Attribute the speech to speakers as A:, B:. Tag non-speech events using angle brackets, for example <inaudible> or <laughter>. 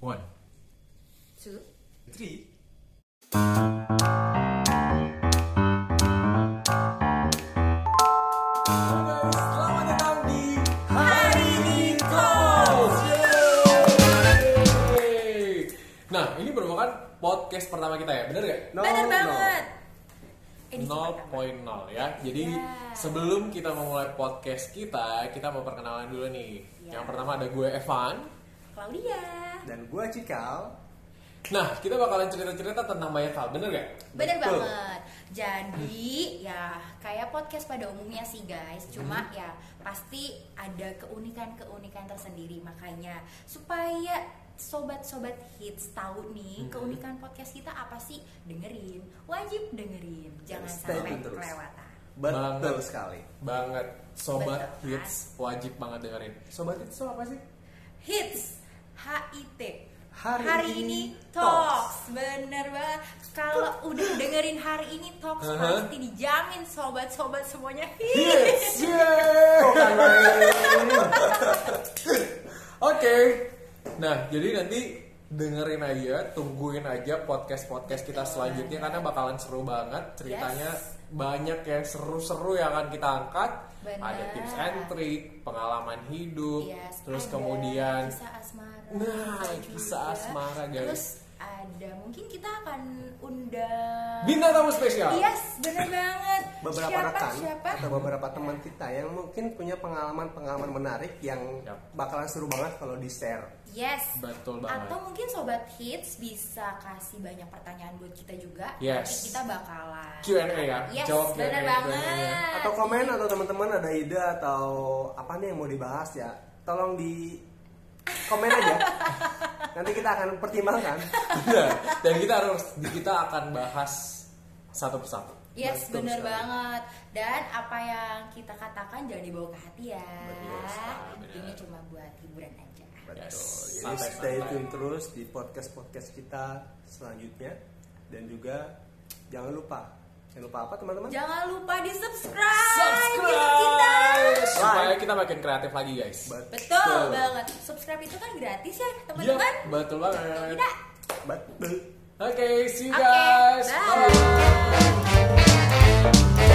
A: One,
B: two.
A: three. Selamat datang di Hari ini Talks. Yeay. Nah, ini merupakan podcast pertama kita ya, bener gak?
B: Bener banget. Edisi
A: 0.0
B: pertama.
A: ya. Jadi
B: Ya.
A: sebelum kita memulai podcast kita, kita mau perkenalan dulu nih.
B: Ya.
A: Yang pertama ada gue Evan.
B: Claudia.
C: dan gua Cikal
A: Nah, kita bakalan cerita-cerita tentang banyak hal, bener gak?
B: Bener
C: Betul.
B: banget. Jadi ya kayak podcast pada umumnya sih guys, cuma
C: Hmm.
B: ya pasti ada keunikan-keunikan tersendiri makanya supaya sobat-sobat hits tahu nih
A: Mhm.
C: Hmm.
B: keunikan podcast kita apa sih dengerin wajib dengerin jangan
C: Stay
B: sampai
C: tune terus.
B: kelewatan
C: betul
A: Banget.
C: sekali
A: banget sobat
B: Betul, kan?
A: hits wajib banget dengerin sobat hits itu apa sih
B: hits HIT
C: Hari
B: ini
C: ini
B: talks bener banget kalau udah dengerin hari ini talks
A: Uh-huh.
B: pasti dijamin sobat-sobat semuanya hits <laughs>
A: hits yeay. oke nah jadi nanti dengerin aja tungguin aja podcast podcast kita selanjutnya karena bakalan seru banget ceritanya
B: Iya. Yes.
A: banyak yang seru-seru yang akan kita angkat
B: Benar.
A: ada tips and trick pengalaman hidup
B: Yes,
A: terus
B: ada
A: kemudian
B: kisah asmara.
A: Nah,
B: juga.
A: kisah asmara, guys.
B: Terus ada mungkin kita akan undang
A: bintang tamu spesial
B: Yes, bener banget.
C: beberapa
B: siapa,
C: rekan
B: Siapa?
C: atau beberapa teman kita yang mungkin punya pengalaman-pengalaman menarik yang
A: Yap.
C: bakalan seru banget kalau di share
B: Yes.
A: betul banget
B: Atau mungkin sobat hits bisa kasih banyak pertanyaan buat kita juga.
A: Yes.
B: Nanti kita bakalan
A: Q&A ya
B: Yes,
A: jawab
B: bener
A: Q&A.
B: banget.
C: atau komen
B: iya.
C: atau teman-teman ada ide atau apa nih yang mau dibahas ya tolong di komen
B: <laughs>
C: aja nanti kita akan pertimbangkan
A: Iya, dan kita harus kita akan bahas satu persatu
B: Yes,
C: Betul
B: bener
C: sekali.
B: banget. Dan apa yang kita katakan jangan dibawa ke hati ya.
A: Betul sekali, bener.
B: Ini cuma buat hiburan aja.
C: betul
A: Yes.
C: jadi
A: Santai-santai.
C: stay tune terus di podcast podcast kita selanjutnya dan juga jangan lupa jangan lupa apa teman-teman
B: Jangan lupa di subscribe.
A: subscribe supaya
C: Like.
A: kita makin kreatif lagi guys
B: Betul banget. Subscribe itu kan gratis ya,
A: Yap,
B: teman-teman.
A: Iya, betul
B: Kalau
A: banget oke
B: Tidak.
C: betul
A: see you
B: Oke.
A: guys
B: bye.